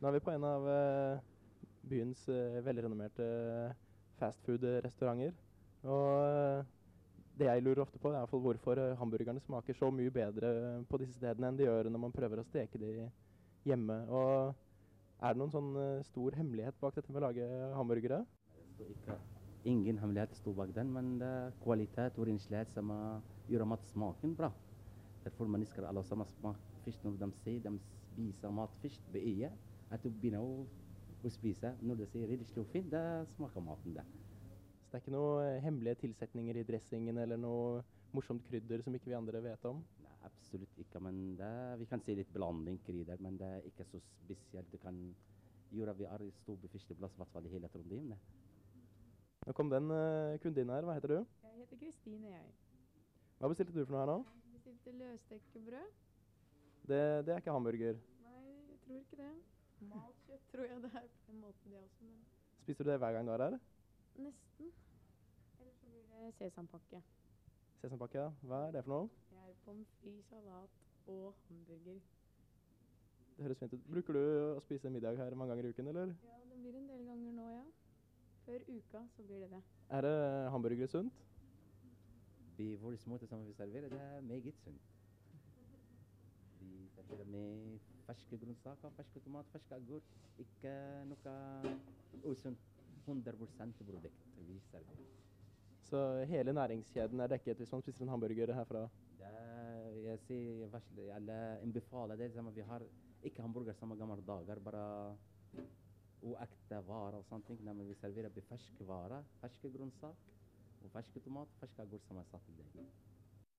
Nå er vi på en av eh, byens eh, velrenommerte eh, fastfood-restauranter. eh, Og eh, det jeg lurer ofte på, er i hvert fall hvorfor eh, hamburgerne smaker så mye bedre eh, på disse stedene enn de gjør når man prøver å steke de hjemme. Og er det noen sånn eh, stor hemmelighet bak dette med å lage hamburgere? Så ikke, ingen hemmelighet sto bak den, men det er kvalitet og renslighet som eh, gjør matsmaken bra. Derfor mennesker alle sammen smaker fisk når de ser de spiser matfisk på øya. At de begynner å, å spise når de sier ryddig og fint, det smaker maten det. Så det er ikke noen hemmelige tilsetninger i dressingen eller noe morsomt krydder som ikke vi andre vet om? Nei, absolutt ikke, men det, vi kan si litt blanding krydder, men det er ikke så spesielt. Det kan gjøre at vi er i stor befiskeplass, i hvert fall i hele Trondheim. det. Nå kom den eh, kunden her. Hva heter du? Jeg heter Kristine, jeg. Hva bestilte du for noe her nå? Bestilte løstekkebrød. Det, det er ikke hamburger. Nei, jeg tror ikke det. Malt kjøtt tror jeg det er på en måte, det også. Men Spiser du det hver gang du er her? nesten. Eller så blir det sesampakke. Sesampakke, hva er det for noe? Det er pommes frites, salat og hamburger. Det høres fint ut. Bruker du å spise middag her mange ganger i uken, eller? Ja, det blir en del ganger nå, ja. Før uka så blir det det. Er det hamburgere sunt? Vi, vår småte som vi serverer, det er meget sunt. Vi serverer med ferske grønnsaker, ferske tomat, ferske agurk. Ikke noe usunt. 100 produkt vi serverer. Så hele næringskjeden er dekket hvis man spiser en hamburger herfra. Det, er- jeg sier varsel, eller anbefaler det som vi har. Ikke hamburger som i gamle dager, bare uekte varer og sånne ting. Nei, men vi serverer med ferske varer, ferske grønnsaker og ferske tomat, ferske agurk som er satt til deg.